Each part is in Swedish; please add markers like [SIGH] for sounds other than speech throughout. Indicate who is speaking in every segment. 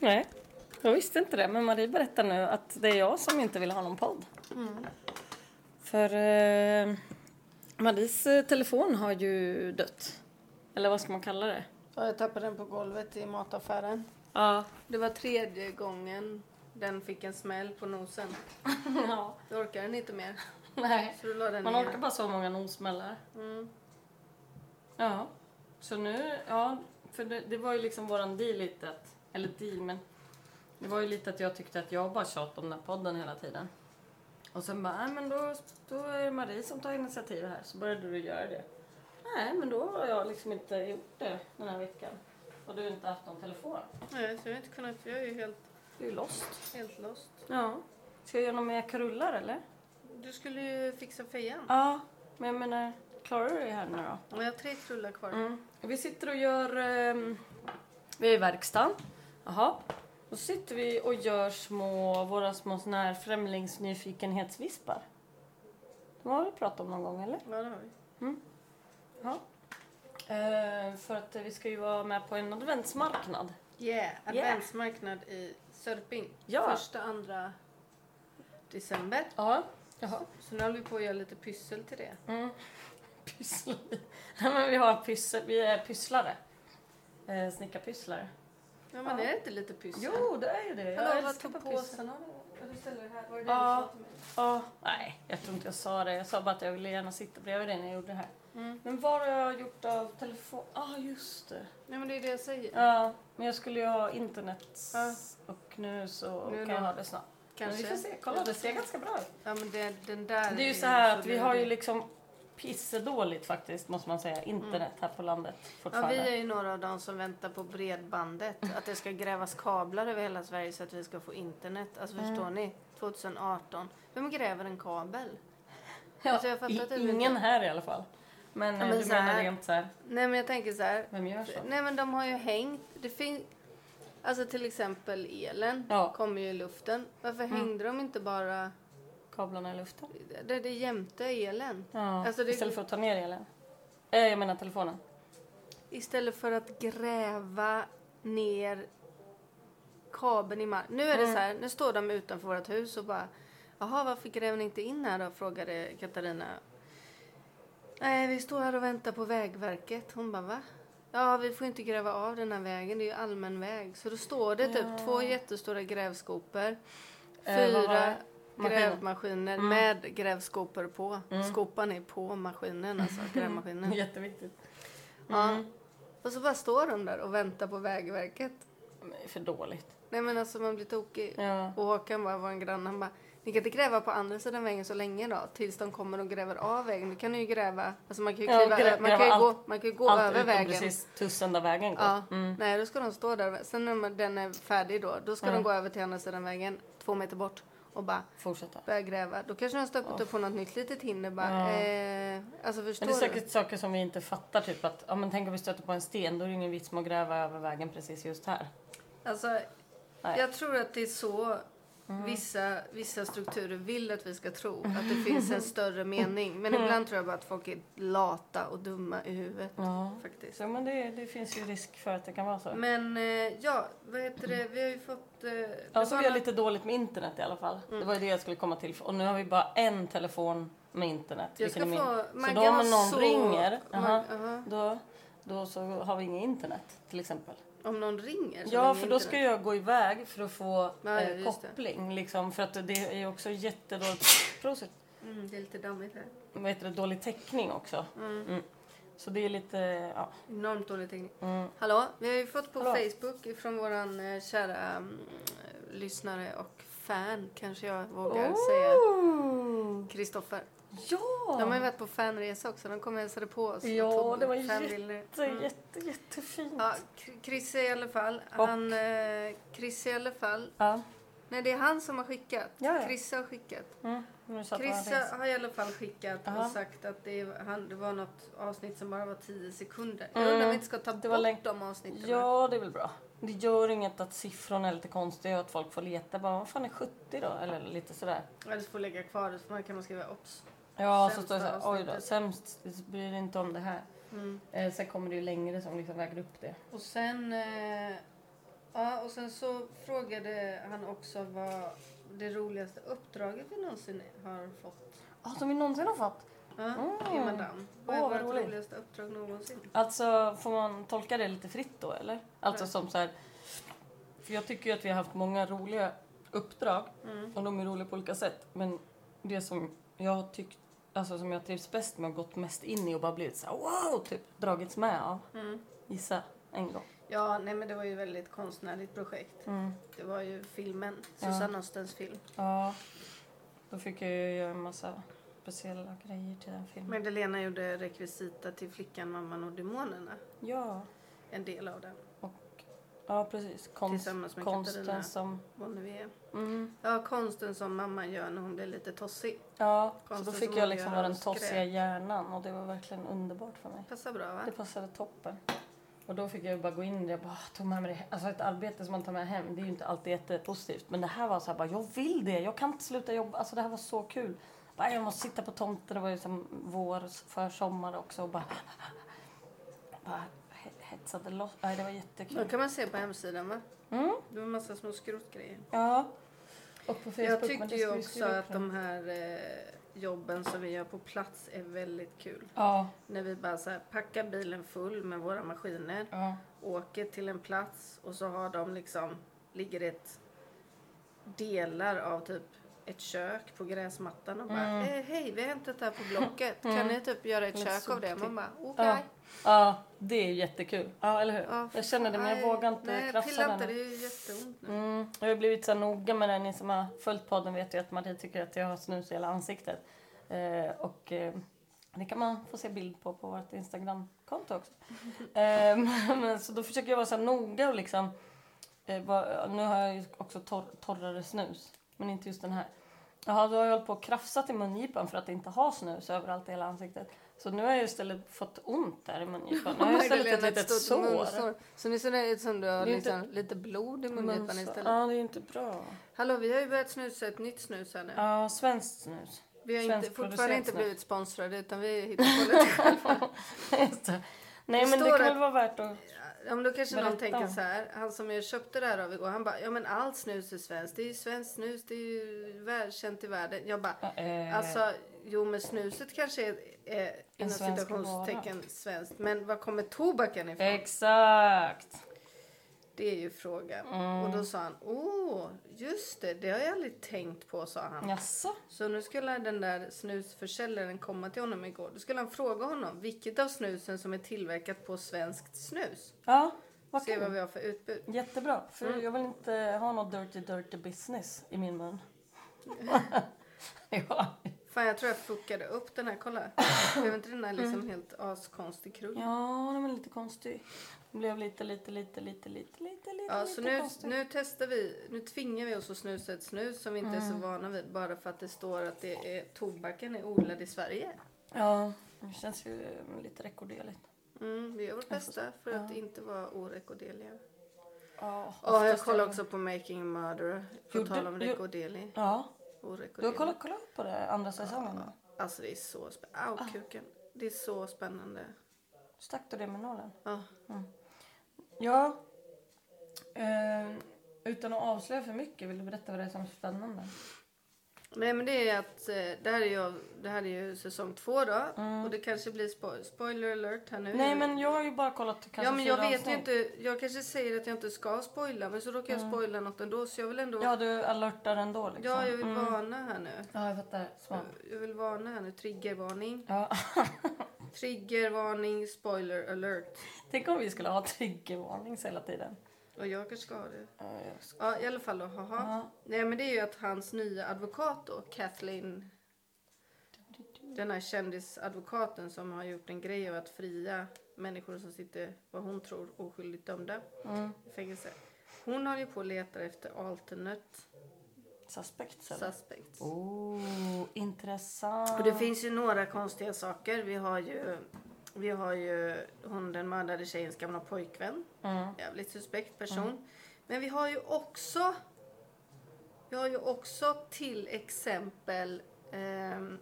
Speaker 1: Nej, jag visste inte det. Men Marie berättar nu att det är jag som inte vill ha någon podd. För eh, Maries eh, telefon har ju dött. Eller vad ska man kalla det?
Speaker 2: Ja, jag tappade den på golvet i mataffären.
Speaker 1: Ja.
Speaker 2: Det var tredje gången den fick en smäll på nosen.
Speaker 1: [LAUGHS] ja.
Speaker 2: Då orkade den inte mer.
Speaker 1: Nej.
Speaker 2: Så då la den
Speaker 1: Man
Speaker 2: ner.
Speaker 1: orkar bara så många nosmällar.
Speaker 2: Mm.
Speaker 1: Ja. Så nu, ja. För det, det var ju liksom våran deal lite att, eller deal men. Det var ju lite att jag tyckte att jag bara tjatade om den här podden hela tiden. Och sen bara, nej men då, då är det Marie som tar initiativ här. Så började du göra det. Nej men då har jag liksom inte gjort det den här veckan. Och du har inte haft någon telefon.
Speaker 2: Nej, så jag har inte kunnat för jag är ju helt,
Speaker 1: Du är ju lost.
Speaker 2: helt lost.
Speaker 1: Ja. Ska jag göra några mer krullar eller?
Speaker 2: Du skulle ju fixa fejan.
Speaker 1: Ja. Men jag menar, klarar du det här nu då?
Speaker 2: Och jag har tre krullar kvar.
Speaker 1: Mm. Vi sitter och gör... ehm, vi är i verkstaden. Jaha. Då sitter vi och gör små, våra små såna här främlingsnyfikenhetsvispar. De har vi pratat om någon gång, eller?
Speaker 2: Ja, det har vi.
Speaker 1: Ja. Eh, för att vi ska ju vara med på en adventsmarknad.
Speaker 2: Yeah, adventsmarknad i Sörping.
Speaker 1: Ja.
Speaker 2: Första, andra december.
Speaker 1: Ja. Jaha.
Speaker 2: Så nu håller vi på att göra lite pyssel till det.
Speaker 1: Mm. Pysslar vi? Nej, men vi har pyssel. Vi är pysslare. Eh, Snickarpysslare.
Speaker 2: Ja, men
Speaker 1: Ja.
Speaker 2: är det inte lite pyssel?
Speaker 1: Jo, det är ju det. Jag
Speaker 2: Hallå, vad
Speaker 1: älskar
Speaker 2: tog
Speaker 1: pyssel.
Speaker 2: påsen av? Du ställer det här. Var det det
Speaker 1: Ja.
Speaker 2: du sa till mig?
Speaker 1: Ja, nej, jag tror inte jag sa det. Jag sa bara att jag ville gärna sitta bredvid dig när jag gjorde det här.
Speaker 2: Mm.
Speaker 1: Men vad har jag gjort av telefon? Ja, ah, just det.
Speaker 2: Nej, men det är det jag säger.
Speaker 1: Ja, men jag skulle ju ha internet
Speaker 2: Ja.
Speaker 1: och nu så
Speaker 2: Nu
Speaker 1: kan jag
Speaker 2: då.
Speaker 1: ha det snart.
Speaker 2: Kanske.
Speaker 1: Men vi får se. Kolla, det ser ganska bra ut.
Speaker 2: Ja, men det, den där
Speaker 1: Det är ju så här att vi har ju liksom pissedåligt faktiskt, måste man säga, internet här på landet
Speaker 2: Mm. Ja,
Speaker 1: liksom fortfarande.
Speaker 2: vi är ju några av de som väntar på
Speaker 1: [LAUGHS]
Speaker 2: bredbandet. Att det ska grävas kablar över hela Sverige så att vi ska få internet. Alltså
Speaker 1: Mm.
Speaker 2: förstår ni? 2018. Vem gräver en kabel?
Speaker 1: Ja,
Speaker 2: Alltså, jag fattar
Speaker 1: i-
Speaker 2: att det är
Speaker 1: ingen här i alla fall. Men, eh,
Speaker 2: men
Speaker 1: du
Speaker 2: så här-
Speaker 1: menar rent så här,
Speaker 2: Nej men jag tänker så här.
Speaker 1: vem gör så?
Speaker 2: Nej men de har ju hängt. Det fin- alltså till exempel elen
Speaker 1: Ja. Mm.
Speaker 2: kommer ju i luften. Varför hängde de inte bara
Speaker 1: Kablarna i luften?
Speaker 2: det, det jämte elen?
Speaker 1: Ja,
Speaker 2: Alltså, det-
Speaker 1: istället för att ta ner elen. Eh, jag menar telefonen.
Speaker 2: Istället för att gräva ner kabeln i marken. Nu är det så här, nu står de utanför vårt hus och bara Jaha, varför gräver ni inte in här då? frågade Katarina. Nej, vi står här och väntar på Vägverket. Hon bara, va? Ja, vi får inte gräva av den här vägen, det är ju allmän väg. Så då står det typ två jättestora grävskopor.
Speaker 1: Eh, vad var
Speaker 2: Fyra
Speaker 1: det? Maskiner. Mm.
Speaker 2: grävmaskiner med grävskopor på. Skopan är på
Speaker 1: [LAUGHS]
Speaker 2: maskinen, alltså grävmaskinen.
Speaker 1: Jätteviktigt.
Speaker 2: Ja. Mm. Och så bara står de där och väntar på Vägverket.
Speaker 1: Men, För dåligt.
Speaker 2: Nej men alltså man blir tokig.
Speaker 1: Ja.
Speaker 2: Och Håkan bara, vår granne, han bara ni kan inte gräva på andra sidan vägen så länge då tills de kommer och gräver av vägen. Då kan ni ju gräva, alltså man kan ju
Speaker 1: Ja,
Speaker 2: kliva,
Speaker 1: grä-
Speaker 2: ö- man, kan
Speaker 1: gräva
Speaker 2: ju
Speaker 1: allt-
Speaker 2: gå, man kan ju gå
Speaker 1: Allt
Speaker 2: över
Speaker 1: utom
Speaker 2: vägen.
Speaker 1: precis tusen där vägen går. Mm.
Speaker 2: Ja. Nej då ska de stå där. Sen när man- den är färdig då, då ska de gå över till andra sidan vägen, två meter bort och bara
Speaker 1: Fortsätta.
Speaker 2: börja gräva. Då kanske de stöper upp på något nytt litet hinder bara.
Speaker 1: Ja.
Speaker 2: Eh, alltså förstår
Speaker 1: Men det är
Speaker 2: du?
Speaker 1: säkert saker som vi inte fattar. Typ att ja, men tänk om vi stöter på en sten, då är det ingen vits med att gräva över vägen precis just här.
Speaker 2: Alltså,
Speaker 1: Nej. Mm.
Speaker 2: jag tror att det är så vissa, vissa strukturer vill att vi ska tro. Att det
Speaker 1: [LAUGHS]
Speaker 2: finns en större mening.
Speaker 1: Mm.
Speaker 2: Men ibland tror jag bara att folk är lata och dumma i huvudet.
Speaker 1: Ja.
Speaker 2: Faktiskt.
Speaker 1: Så, men det, det finns ju risk för att det kan vara så.
Speaker 2: Men eh, ja, vad heter det? Vi har ju fått... Eh, det
Speaker 1: ja, så
Speaker 2: var
Speaker 1: vi har
Speaker 2: någon-
Speaker 1: lite dåligt med internet i alla fall.
Speaker 2: Mm.
Speaker 1: Det var ju det jag skulle komma till. Och nu har vi bara en telefon med internet.
Speaker 2: Jag
Speaker 1: Vi
Speaker 2: ska
Speaker 1: kunde min-
Speaker 2: få-
Speaker 1: så
Speaker 2: Maggan
Speaker 1: då om
Speaker 2: var
Speaker 1: någon
Speaker 2: så-
Speaker 1: ringer,
Speaker 2: Mag-
Speaker 1: aha,
Speaker 2: aha.
Speaker 1: Då, då så har vi inget internet till exempel.
Speaker 2: Om någon ringer. så
Speaker 1: Ja,
Speaker 2: ringer
Speaker 1: för då ska
Speaker 2: internet.
Speaker 1: jag gå iväg för att få
Speaker 2: Ja,
Speaker 1: eh,
Speaker 2: just det.
Speaker 1: koppling. Liksom, för att det är ju också jättedåligt Prosit.
Speaker 2: Mm, det är lite dammigt här.
Speaker 1: Vad heter det, dålig täckning också. Mm. Så det är lite... Ja.
Speaker 2: Enormt dålig teknik.
Speaker 1: Mm.
Speaker 2: Hallå, vi har ju fått på
Speaker 1: Hallå.
Speaker 2: Facebook från våran eh, kära mm, lyssnare och fan, kanske jag vågar säga. Kristoffer.
Speaker 1: Ja!
Speaker 2: De har ju varit på fanresa också. De kom och hälsade på oss. och
Speaker 1: ja,
Speaker 2: tog
Speaker 1: det var
Speaker 2: fanbilder.
Speaker 1: jätte, jätte, jättefint.
Speaker 2: Mm. Ja, Kr- Chrisse i alla fall.
Speaker 1: Och-
Speaker 2: Han, eh, Chrisse i alla fall.
Speaker 1: Ja.
Speaker 2: Nej, det är han som har skickat.
Speaker 1: Ja, ja.
Speaker 2: Chrisse har skickat.
Speaker 1: Mm. Nu satt man
Speaker 2: Chrisse
Speaker 1: resa.
Speaker 2: har i alla fall skickat
Speaker 1: Aha.
Speaker 2: och sagt att det, är, han, det var något avsnitt som bara var 10 sekunder.
Speaker 1: Mm.
Speaker 2: Jag undrar om vi inte ska ta
Speaker 1: Det
Speaker 2: bort
Speaker 1: var länge-
Speaker 2: de avsnitten.
Speaker 1: Ja, det är väl bra. Det gör inget att siffrorna är lite konstiga och att folk får leta. Bara, vad fan är 70 då? Eller lite sådär.
Speaker 2: Eller så får vi lägga kvar det, så man kan man skriva obs.
Speaker 1: Ja, så
Speaker 2: Sämsta
Speaker 1: står det så här, oj då,
Speaker 2: avsnittet.
Speaker 1: sämst, bryr dig inte om det här.
Speaker 2: Mm.
Speaker 1: Eh, sen kommer det ju längre som liksom väger upp det.
Speaker 2: Och sen... Eh, ja, och och sen så frågade han också vad det roligaste uppdraget vi någonsin har fått.
Speaker 1: Ja, som vi någonsin har fått.
Speaker 2: Ja, I
Speaker 1: Mm.
Speaker 2: Madame. Vad är
Speaker 1: Åh, vad
Speaker 2: vårt
Speaker 1: roligt.
Speaker 2: roligaste uppdrag någonsin?
Speaker 1: Alltså, får man tolka det lite fritt då eller? Alltså
Speaker 2: Ja.
Speaker 1: som så här, för jag tycker ju att vi har haft många roliga uppdrag och de är roliga på olika sätt. Men det som jag har tyckt, alltså som jag trivs bäst med och gått mest in i och bara blivit så här, wow, typ dragits med av.
Speaker 2: Mm.
Speaker 1: Gissa en gång.
Speaker 2: Ja, nej men det var ju ett väldigt konstnärligt projekt.
Speaker 1: Mm.
Speaker 2: Det var ju filmen,
Speaker 1: Ja.
Speaker 2: Susanne Ostens film.
Speaker 1: Ja, då fick jag ju göra en massa speciella grejer till den filmen.
Speaker 2: Magdalena gjorde rekvisita till Flickan, mamman och demonerna.
Speaker 1: Ja,
Speaker 2: En del av den.
Speaker 1: och ja precis. Konst,
Speaker 2: Tillsammans med Katarina.
Speaker 1: konsten som...
Speaker 2: Vad nu är.
Speaker 1: Mm.
Speaker 2: Ja, konsten som mamman gör när hon blir lite tossig.
Speaker 1: Ja, så då
Speaker 2: Konsten
Speaker 1: fick
Speaker 2: som
Speaker 1: jag liksom
Speaker 2: avgör
Speaker 1: vara den
Speaker 2: allt skräp.
Speaker 1: tossiga hjärnan och det var verkligen underbart för mig.
Speaker 2: Passar bra va?
Speaker 1: Det passade toppen. Och då fick jag ju bara gå in i det och bara "Ah, tog med mig det. Alltså ett arbete som man tar med hem, det är ju inte alltid jättepositivt. Men det här var så här bara, jag vill det, jag kan inte sluta jobba. Alltså det här var så kul. Bara, jag måste sitta på tomten, det var ju som vår, försommar också och bara... [LAUGHS] Bara he- hetsade loss. Nej, det var
Speaker 2: De
Speaker 1: jättekul.
Speaker 2: kan man se på hemsidan va?
Speaker 1: Mm.
Speaker 2: Det var en massa små skrotgrejer.
Speaker 1: Ja. Och på Facebook.
Speaker 2: Jag
Speaker 1: men
Speaker 2: tycker
Speaker 1: det
Speaker 2: ju
Speaker 1: ska vi
Speaker 2: också
Speaker 1: skriva upp
Speaker 2: att
Speaker 1: nu.
Speaker 2: de här eh, jobben som vi gör på plats är väldigt kul.
Speaker 1: Ja,
Speaker 2: När vi bara så här packar bilen full med våra maskiner,
Speaker 1: ja.
Speaker 2: åker till en plats och så har de liksom, ligger ett delar av typ ett kök på gräsmattan och bara eh, hej vi har hämtat det här på blocket, kan ni typ göra ett
Speaker 1: Mm. Lite
Speaker 2: kök av det? Man
Speaker 1: soptipp.
Speaker 2: bara okej.
Speaker 1: Ja, ja, det är ju jättekul. Ja, eller hur?
Speaker 2: Ja,
Speaker 1: jag känner det men jag
Speaker 2: nej,
Speaker 1: vågar inte
Speaker 2: Nej,
Speaker 1: krafsa
Speaker 2: pilla
Speaker 1: den.
Speaker 2: inte, det är ju jätteont nu.
Speaker 1: Mm, jag har blivit så noga med det. Ni som har följt podden vet ju att Marie tycker att jag har snus i hela ansiktet. Eh, och eh, det kan man få se bild på på vårt Instagramkonto
Speaker 2: [LAUGHS]
Speaker 1: också. eh, men, så då försöker jag vara så här noga och liksom... Eh, bara, nu har jag ju också torr, torrare snus, men inte just den här. Jaha, då har jag hållit på och krafsat i mungipan för att inte ha snus överallt i hela ansiktet. Så nu har jag istället fått ont där i mungipan. Nu har
Speaker 2: [LAUGHS]
Speaker 1: jag istället ett litet sår.
Speaker 2: Så nu ser det ut som du har
Speaker 1: Det är inte-
Speaker 2: liksom lite blod i
Speaker 1: Men
Speaker 2: mungipan
Speaker 1: så-
Speaker 2: istället.
Speaker 1: Ja, det är ju inte bra.
Speaker 2: Hallå, vi har ju börjat snusa ett nytt snus här nu.
Speaker 1: Ja, svenskt snus.
Speaker 2: vi har inte,
Speaker 1: svenskproducerat
Speaker 2: fortfarande inte
Speaker 1: snus.
Speaker 2: blivit sponsrade utan vi hittar på
Speaker 1: [LAUGHS]
Speaker 2: lite själva.
Speaker 1: Just det. Nej,
Speaker 2: Det
Speaker 1: men det
Speaker 2: står
Speaker 1: kan
Speaker 2: att-
Speaker 1: väl vara värt att...
Speaker 2: Ja, men då kanske någon
Speaker 1: Berätta.
Speaker 2: tänker så här. Han som jag köpte det här av igår, han bara, ja men allt snus är svenskt. Det är ju svenskt snus, det är ju välkänt i världen. Jag bara,
Speaker 1: eh,
Speaker 2: alltså jo men snuset kanske är, är inom
Speaker 1: svensk
Speaker 2: citationstecken svenskt. Men var kommer tobaken ifrån?
Speaker 1: Exakt.
Speaker 2: Det är ju frågan. Och
Speaker 1: Mm.
Speaker 2: då sa han, åh, just det, det har jag aldrig tänkt på, sa han.
Speaker 1: Jaså?
Speaker 2: Så nu skulle den där snusförsäljaren komma till honom igår. Då skulle han fråga honom vilket av snusen som är tillverkat på svenskt snus.
Speaker 1: Ja, Mm. vad
Speaker 2: Se vad
Speaker 1: kul.
Speaker 2: vi har för utbud.
Speaker 1: Jättebra, för jag vill inte ha något dirty, dirty business i min mun. [LAUGHS] ja.
Speaker 2: Fan jag tror jag fuckade upp den här,
Speaker 1: [COUGHS]
Speaker 2: kolla. Blev inte den här liksom helt askonstig krull?
Speaker 1: Mm. ja, den var lite konstig. Den blev lite, lite, lite, lite, lite, lite, lite,
Speaker 2: Ja, så
Speaker 1: lite
Speaker 2: nu,
Speaker 1: konstig.
Speaker 2: nu testar vi, nu tvingar vi oss att snusa ett snus som vi inte
Speaker 1: Mm.
Speaker 2: är så vana vid bara för att det står att det är, tobaken är odlad i Sverige.
Speaker 1: Ja, det känns ju eh, lite rekorderligt.
Speaker 2: Mm, vi gör vårt bästa för att inte vara orekorderliga.
Speaker 1: Ja,
Speaker 2: Ja, jag
Speaker 1: oftast är
Speaker 2: kollar
Speaker 1: det-
Speaker 2: också på Making a Murderer. På
Speaker 1: Gjorde-
Speaker 2: tal om
Speaker 1: gjorde-
Speaker 2: rekorderlig.
Speaker 1: Ja, du har
Speaker 2: Orekorderlig.
Speaker 1: kollat, kollat på det andra säsongen? då?
Speaker 2: Alltså det är så
Speaker 1: Ah.
Speaker 2: spännande. Au, kuken. Det är så spännande.
Speaker 1: Stack du det med nålen?
Speaker 2: Ja.
Speaker 1: Ja. Eh, utan att avslöja för mycket, vill du berätta vad det är som är spännande?
Speaker 2: Nej men det är att eh, det här är ju, det här är ju säsong två då. Och det kanske blir spo- spoiler alert här nu.
Speaker 1: Mm. Nej, men jag har ju bara kollat kanske
Speaker 2: Ja men jag
Speaker 1: fyra
Speaker 2: vet ju
Speaker 1: avsnitt. Mm.
Speaker 2: inte. Jag kanske säger att jag inte ska spoila men så råkar jag spoila något ändå så jag vill ändå.
Speaker 1: Ja, du alertar ändå liksom.
Speaker 2: Ja, jag vill varna här nu.
Speaker 1: Ja, jag fattar. Smart.
Speaker 2: Jag vill varna här nu. Triggervarning.
Speaker 1: Ja. [LAUGHS]
Speaker 2: Triggervarning, spoiler alert.
Speaker 1: Tänk om vi skulle ha triggervarnings hela tiden.
Speaker 2: Och jag kanske ska ha det.
Speaker 1: Ja, jag ska-
Speaker 2: Ja, i alla fall då. Haha.
Speaker 1: Ja.
Speaker 2: Nej, men det är ju att hans nya advokat då, Kathleen... Den här kändisadvokaten som har gjort en grej av att fria människor som sitter, vad hon tror, oskyldigt dömda
Speaker 1: Mm.
Speaker 2: i fängelse. Hon håller ju på och letar efter alternate
Speaker 1: Suspects eller?
Speaker 2: suspects.
Speaker 1: Oh, intressant.
Speaker 2: Och det finns ju några konstiga saker. Vi har ju, vi har ju hon den mördade tjejens gamla pojkvän.
Speaker 1: Mm.
Speaker 2: Jävligt suspekt person. Men vi har ju också... Vi har ju också till exempel ehm,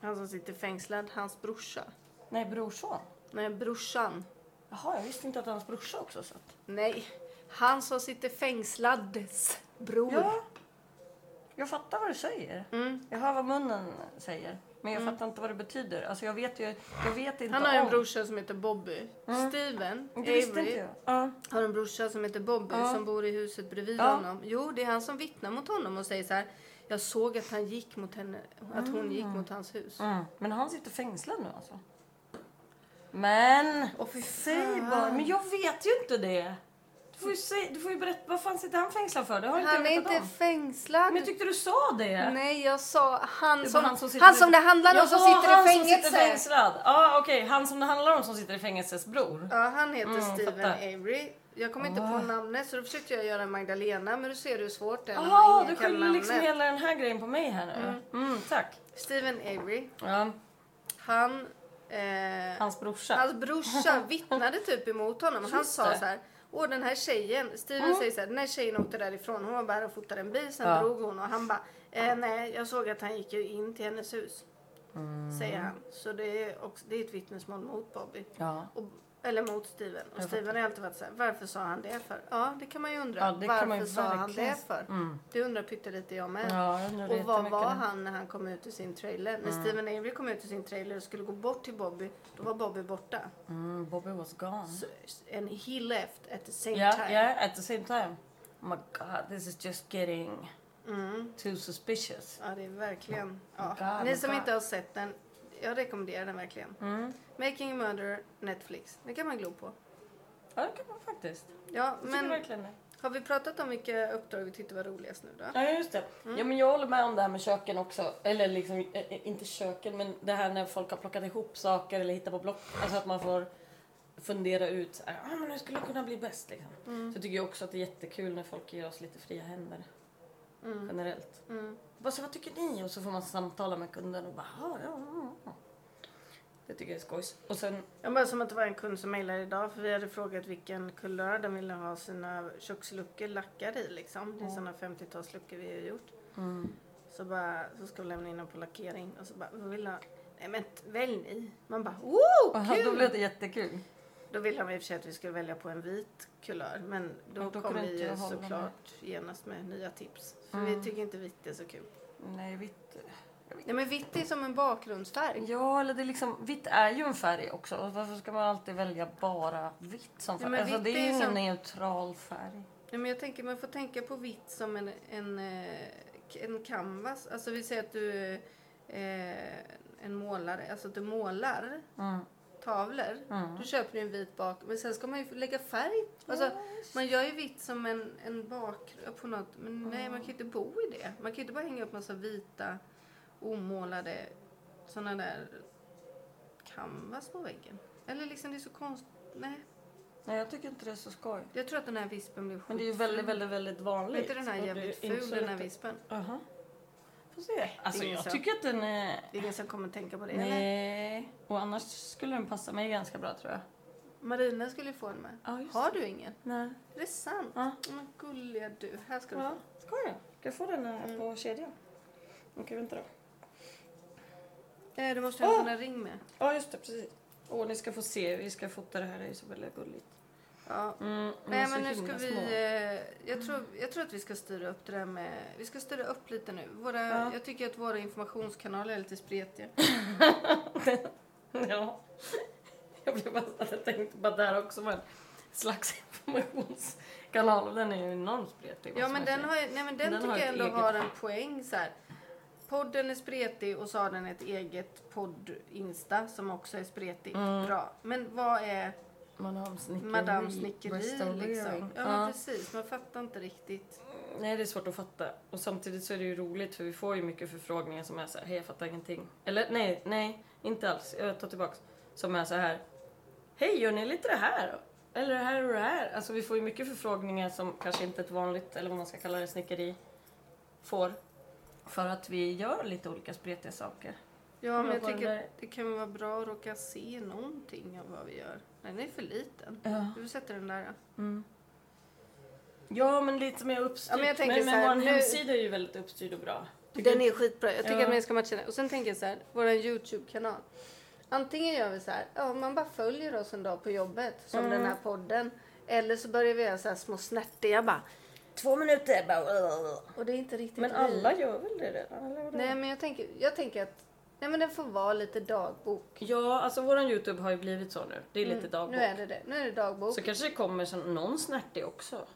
Speaker 2: han som sitter fängslad, hans brorsa.
Speaker 1: Nej, brorson.
Speaker 2: Nej, brorsan.
Speaker 1: Jaha, jag visste inte att hans brorsa också satt.
Speaker 2: Nej, han som sitter fängslades bror.
Speaker 1: Ja. Jag fattar vad du säger.
Speaker 2: Mm.
Speaker 1: Jag hör vad munnen säger. Men jag fattar inte vad det betyder. Alltså jag vet ju... Jag vet inte
Speaker 2: Han har en
Speaker 1: om-
Speaker 2: brorsa som heter Bobby. Steven
Speaker 1: Det visste inte
Speaker 2: Avery
Speaker 1: Mm. jag. Ja.
Speaker 2: har en brorsa som heter Bobby
Speaker 1: Ja.
Speaker 2: som bor i huset bredvid
Speaker 1: Ja.
Speaker 2: honom. Jo, det är han som vittnar mot honom och säger så här. Jag såg att han gick mot henne, att hon
Speaker 1: Ah.
Speaker 2: gick mot hans hus.
Speaker 1: Mm. Men han sitter fängslad nu alltså. Men...
Speaker 2: Åh, fy
Speaker 1: Säg
Speaker 2: fan.
Speaker 1: bara. Men jag vet ju inte det. Du får ju, säg, du får ju berätta. Vad fan sitter han fängslad för? Det har inte
Speaker 2: Han
Speaker 1: jag
Speaker 2: är
Speaker 1: vetat
Speaker 2: inte
Speaker 1: om.
Speaker 2: fängslad.
Speaker 1: Men jag tyckte du sa det.
Speaker 2: Nej, jag sa han
Speaker 1: Det är
Speaker 2: som,
Speaker 1: bara
Speaker 2: han
Speaker 1: han som
Speaker 2: som,
Speaker 1: sitter i-
Speaker 2: det handlar om som
Speaker 1: Jaha,
Speaker 2: sitter i
Speaker 1: han som
Speaker 2: fängelse.
Speaker 1: sitter fängslad. Ja, okej. Han som det handlar om som sitter i fängelses bror.
Speaker 2: Ja, han heter
Speaker 1: Mm,
Speaker 2: Steven
Speaker 1: fattar.
Speaker 2: Avery. Jag kom inte på
Speaker 1: Ah.
Speaker 2: namnet så då försökte jag göra Magdalena men du ser hur svårt det är när man
Speaker 1: Jaha,
Speaker 2: ingen
Speaker 1: du
Speaker 2: kan
Speaker 1: skyller liksom
Speaker 2: namnet.
Speaker 1: hela den här grejen på mig här nu. Mm, tack.
Speaker 2: Steven Avery,
Speaker 1: Ja,
Speaker 2: han... Eh,
Speaker 1: hans brorsa. [LAUGHS]
Speaker 2: Hans brorsa vittnade typ emot honom. Han
Speaker 1: Just
Speaker 2: sa
Speaker 1: det. Mm.
Speaker 2: så här. Åh den här tjejen, Steven säger så här, den här tjejen åkte därifrån. Hon var bara här och fotade en bil, sen
Speaker 1: Ja.
Speaker 2: drog hon och han bara, eh, nej jag såg att han gick ju in till hennes hus.
Speaker 1: Mm.
Speaker 2: Säger han. Så det är, också, det är ett vittnesmål mot Bobby.
Speaker 1: Ja.
Speaker 2: Och, eller mot Steven. Och
Speaker 1: Jag
Speaker 2: Steven har alltid varit så här, varför sa han det för? Ja det kan man ju undra.
Speaker 1: Ja, det
Speaker 2: varför
Speaker 1: kan man ju
Speaker 2: sa han
Speaker 1: verkligen-
Speaker 2: det för? Det undrar pyttelite jag med.
Speaker 1: Mm. Ja, jag undrar
Speaker 2: Och vad
Speaker 1: jättemycket
Speaker 2: var
Speaker 1: det. Mm.
Speaker 2: han när han kom ut ur sin trailer? När Steven Avery kom ut ur sin trailer och skulle gå bort till Bobby, då var Bobby borta.
Speaker 1: Mm, Bobby was gone.
Speaker 2: So, and he left at the same
Speaker 1: Yeah,
Speaker 2: time.
Speaker 1: yeah, at the same time. Oh my god, this is just getting too suspicious.
Speaker 2: Mm. Ja, det är verkligen... Ja.
Speaker 1: Oh God,
Speaker 2: Ni
Speaker 1: oh
Speaker 2: som
Speaker 1: God.
Speaker 2: inte har sett den, jag rekommenderar den verkligen.
Speaker 1: Mm.
Speaker 2: Making a Murder, Netflix. Det kan man glo på.
Speaker 1: Ja, det kan man faktiskt.
Speaker 2: Ja,
Speaker 1: Jag tycker
Speaker 2: men
Speaker 1: verkligen det.
Speaker 2: har vi pratat om vilka uppdrag vi tyckte var roligast nu då? Mm.
Speaker 1: Ja, just det. Ja, men jag håller med om det här med köken också. Eller liksom, eh, eh, inte köken, men det här när folk har plockat ihop saker eller hittat på block. Alltså att man får fundera ut, så här, ah, men hur skulle det kunna bli bäst? Liksom.
Speaker 2: Mm.
Speaker 1: Så tycker jag också att det är jättekul när folk ger oss lite fria händer. Generellt.
Speaker 2: Mm.
Speaker 1: Bara så, vad tycker ni? Och så får man samtala med kunden och bara, "Ah, ja, ja, ja. Det tycker jag är skojs. Och sen,
Speaker 2: Jag bara som att det var en kund som mejlade idag för vi hade frågat vilken kulör de ville ha sina köksluckor lackade i liksom.
Speaker 1: Mm.
Speaker 2: Det är sådana 50-talsluckor vi har gjort. Mm. Så bara, så ska vi lämna in dem på lackering och så bara, vad vill ha? Nej men t- välj ni. Man bara, oh
Speaker 1: då
Speaker 2: kul!
Speaker 1: blev det jättekul.
Speaker 2: Då ville de i och för sig att vi skulle välja på en vit kulör men då,
Speaker 1: Men då
Speaker 2: kom
Speaker 1: kunde
Speaker 2: vi
Speaker 1: inte
Speaker 2: ju
Speaker 1: jag hålla Mm.
Speaker 2: såklart genast med nya tips. För vi tycker inte vitt är så kul.
Speaker 1: Nej, vitt.
Speaker 2: Nej men vitt är som en bakgrundsfärg.
Speaker 1: Ja, eller det är liksom, vitt är ju en färg också. Och varför ska man alltid välja bara vitt som
Speaker 2: Ja,
Speaker 1: färg?
Speaker 2: men
Speaker 1: alltså,
Speaker 2: vitt
Speaker 1: det är
Speaker 2: är
Speaker 1: ju
Speaker 2: ju
Speaker 1: ingen
Speaker 2: som-
Speaker 1: neutral färg.
Speaker 2: Nej, men jag tänker man får tänka på vitt som en, en, eh, k- en canvas. Alltså vi säger att du är eh, en målare, alltså att du målar tavlor. Du köper ju en vit bak, men sen ska man ju lägga färg. Alltså, man gör ju vitt som en, en bakgrund på något. Men nej, man kan ju inte bo i det. Man kan ju inte bara hänga upp massa vita omålade sådana där canvas på väggen. Eller liksom det är så konstigt. Nej,
Speaker 1: Nej, jag tycker inte det är så skoj.
Speaker 2: jag tror att den här vispen blev
Speaker 1: Men det är ju
Speaker 2: skitful.
Speaker 1: väldigt, väldigt, väldigt vanligt.
Speaker 2: Är inte den här
Speaker 1: Och det är
Speaker 2: jävligt
Speaker 1: inte
Speaker 2: ful
Speaker 1: så
Speaker 2: den här
Speaker 1: lätt-
Speaker 2: vispen?
Speaker 1: Jaha. Får se. Alltså,
Speaker 2: Ingen
Speaker 1: jag
Speaker 2: så.
Speaker 1: tycker att den är...
Speaker 2: Det är ingen som kommer tänka på det eller?
Speaker 1: Nej. Och annars skulle den passa mig ganska bra tror jag.
Speaker 2: Marina skulle ju få en med.
Speaker 1: Ja, just
Speaker 2: Har du ingen?
Speaker 1: Nej.
Speaker 2: Är det sant?
Speaker 1: Ja.
Speaker 2: Men gulliga du, här ska du
Speaker 1: Ja,
Speaker 2: få.
Speaker 1: ska Mm. jag? Ska jag få den här på kedjan? Okej, vänta då.
Speaker 2: Eh, du måste ha en
Speaker 1: Åh!
Speaker 2: sån här ring med.
Speaker 1: Ja, just det. Precis. Åh, ni ska få se. Vi ska fota det här. Det är så väldigt gulligt.
Speaker 2: Ja.
Speaker 1: Mm, de är
Speaker 2: Nej
Speaker 1: så
Speaker 2: men nu
Speaker 1: himla
Speaker 2: ska vi,
Speaker 1: små.
Speaker 2: eh, jag tror, jag tror att vi ska styra upp det där med, vi ska styra upp lite nu. Våra,
Speaker 1: Ja.
Speaker 2: Jag tycker att våra informationskanaler är lite spretiga.
Speaker 1: Ja. [LAUGHS] Jag blev bara att jag tänkte bara där också var en slags informationskanal och den är ju enormt spretig.
Speaker 2: Ja men den, har, ju- nej, men den,
Speaker 1: Den
Speaker 2: tycker
Speaker 1: har
Speaker 2: jag
Speaker 1: ett
Speaker 2: ändå
Speaker 1: eget-
Speaker 2: har en poäng så här. Podden är spretig och så har den ett eget podd-insta som också är spretigt.
Speaker 1: Mm.
Speaker 2: Bra. Men vad är
Speaker 1: Man har om snickeri,
Speaker 2: Madame Snickeri liksom?
Speaker 1: restaurering.
Speaker 2: Ja,
Speaker 1: Ja.
Speaker 2: Men precis, man fattar inte riktigt.
Speaker 1: Nej det är svårt att fatta och samtidigt så är det ju roligt för vi får ju mycket förfrågningar som är så här, hej jag fattar ingenting. Eller nej, nej, inte alls, jag tar tillbaks. Som är så här, hej gör ni lite det här? Eller det här och det här. Alltså vi får ju mycket förfrågningar som kanske inte ett vanligt, eller vad man ska kalla det, snickeri får. För att vi gör lite olika spretiga saker.
Speaker 2: Ja men
Speaker 1: Men
Speaker 2: jag
Speaker 1: vad
Speaker 2: tycker
Speaker 1: den där-
Speaker 2: att det kan vara bra att råka se någonting av vad vi gör. Den är för liten.
Speaker 1: Ja.
Speaker 2: Du sätter den där.
Speaker 1: Mm. Ja men lite mer uppstyrt.
Speaker 2: Ja, men jag tänker
Speaker 1: men,
Speaker 2: så här,
Speaker 1: vår
Speaker 2: nu-
Speaker 1: hemsida är ju väldigt uppstyrd och bra. Tycker
Speaker 2: Den
Speaker 1: du?
Speaker 2: är skitbra. Jag tycker
Speaker 1: Ja.
Speaker 2: att man ska matcha den. Och sen tänker jag så här, vår YouTube-kanal. Antingen gör vi så här, ja, man bara följer oss en dag på jobbet, som den här podden. Eller så börjar vi göra så här små snärtiga bara.
Speaker 3: Två minuter bara...
Speaker 2: Och det är inte riktigt
Speaker 1: Men
Speaker 2: vi.
Speaker 1: alla gör väl det redan? Eller vadå?
Speaker 2: Nej, men jag tänker, jag tänker att nej, men den får vara lite dagbok.
Speaker 1: Ja, alltså våran Youtube har ju blivit så nu. Det är lite dagbok.
Speaker 2: Mm, Nu är det det. Nu är det dagbok.
Speaker 1: Så kanske det kommer som någon snärtig också.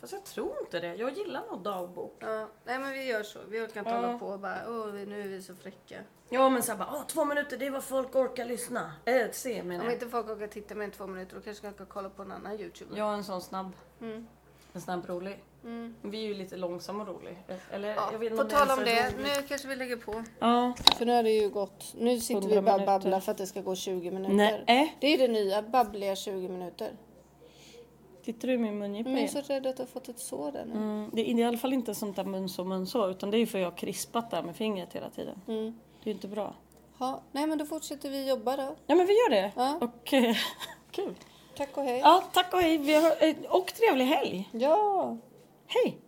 Speaker 1: Fast jag tror inte det. Jag gillar nog dagbok.
Speaker 2: Ja, nej, men vi gör så. Vi orkar inte
Speaker 1: Ja.
Speaker 2: hålla på och bara, åh, vi- nu är vi så fräcka.
Speaker 1: Ja men såhär bara, "Åh, två minuter det är vad folk orkar lyssna. Äh, se menar
Speaker 2: Om
Speaker 1: jag.
Speaker 2: inte folk orkar titta mer än två minuter, då kanske de kan kolla på en annan YouTuber.
Speaker 1: Jag är en sån snabb.
Speaker 2: Mm.
Speaker 1: En snabb rolig.
Speaker 2: Mm.
Speaker 1: Vi är ju lite långsam och rolig. Eller
Speaker 2: Ja,
Speaker 1: jag vet inte
Speaker 2: på
Speaker 1: ens
Speaker 2: tal om
Speaker 1: är
Speaker 2: det,
Speaker 1: roligt.
Speaker 2: nu kanske vi lägger på.
Speaker 1: Ja.
Speaker 2: För nu har det ju gått, nu sitter vi
Speaker 1: 100
Speaker 2: bara och
Speaker 1: minuter.
Speaker 2: babblar för att det ska gå 20 minuter.
Speaker 1: Nej.
Speaker 2: Det är det nya, babbliga 20 minuter.
Speaker 1: Tittar du i min mungipa
Speaker 2: Men jag är
Speaker 1: igen?
Speaker 2: så rädd att du har fått ett sår där nu.
Speaker 1: Mm, det är i alla fall inte sånt där mun så mun så utan det är ju för jag har crispat där med fingret hela tiden.
Speaker 2: Mm.
Speaker 1: Det är ju inte bra.
Speaker 2: Ha, nej men då fortsätter vi jobba då.
Speaker 1: Ja men vi gör det.
Speaker 2: Ja.
Speaker 1: Och eh, kul. [LAUGHS]
Speaker 2: Tack och hej.
Speaker 1: Ja tack och hej Vi har- eh, och trevlig helg.
Speaker 2: Ja!
Speaker 1: Hej!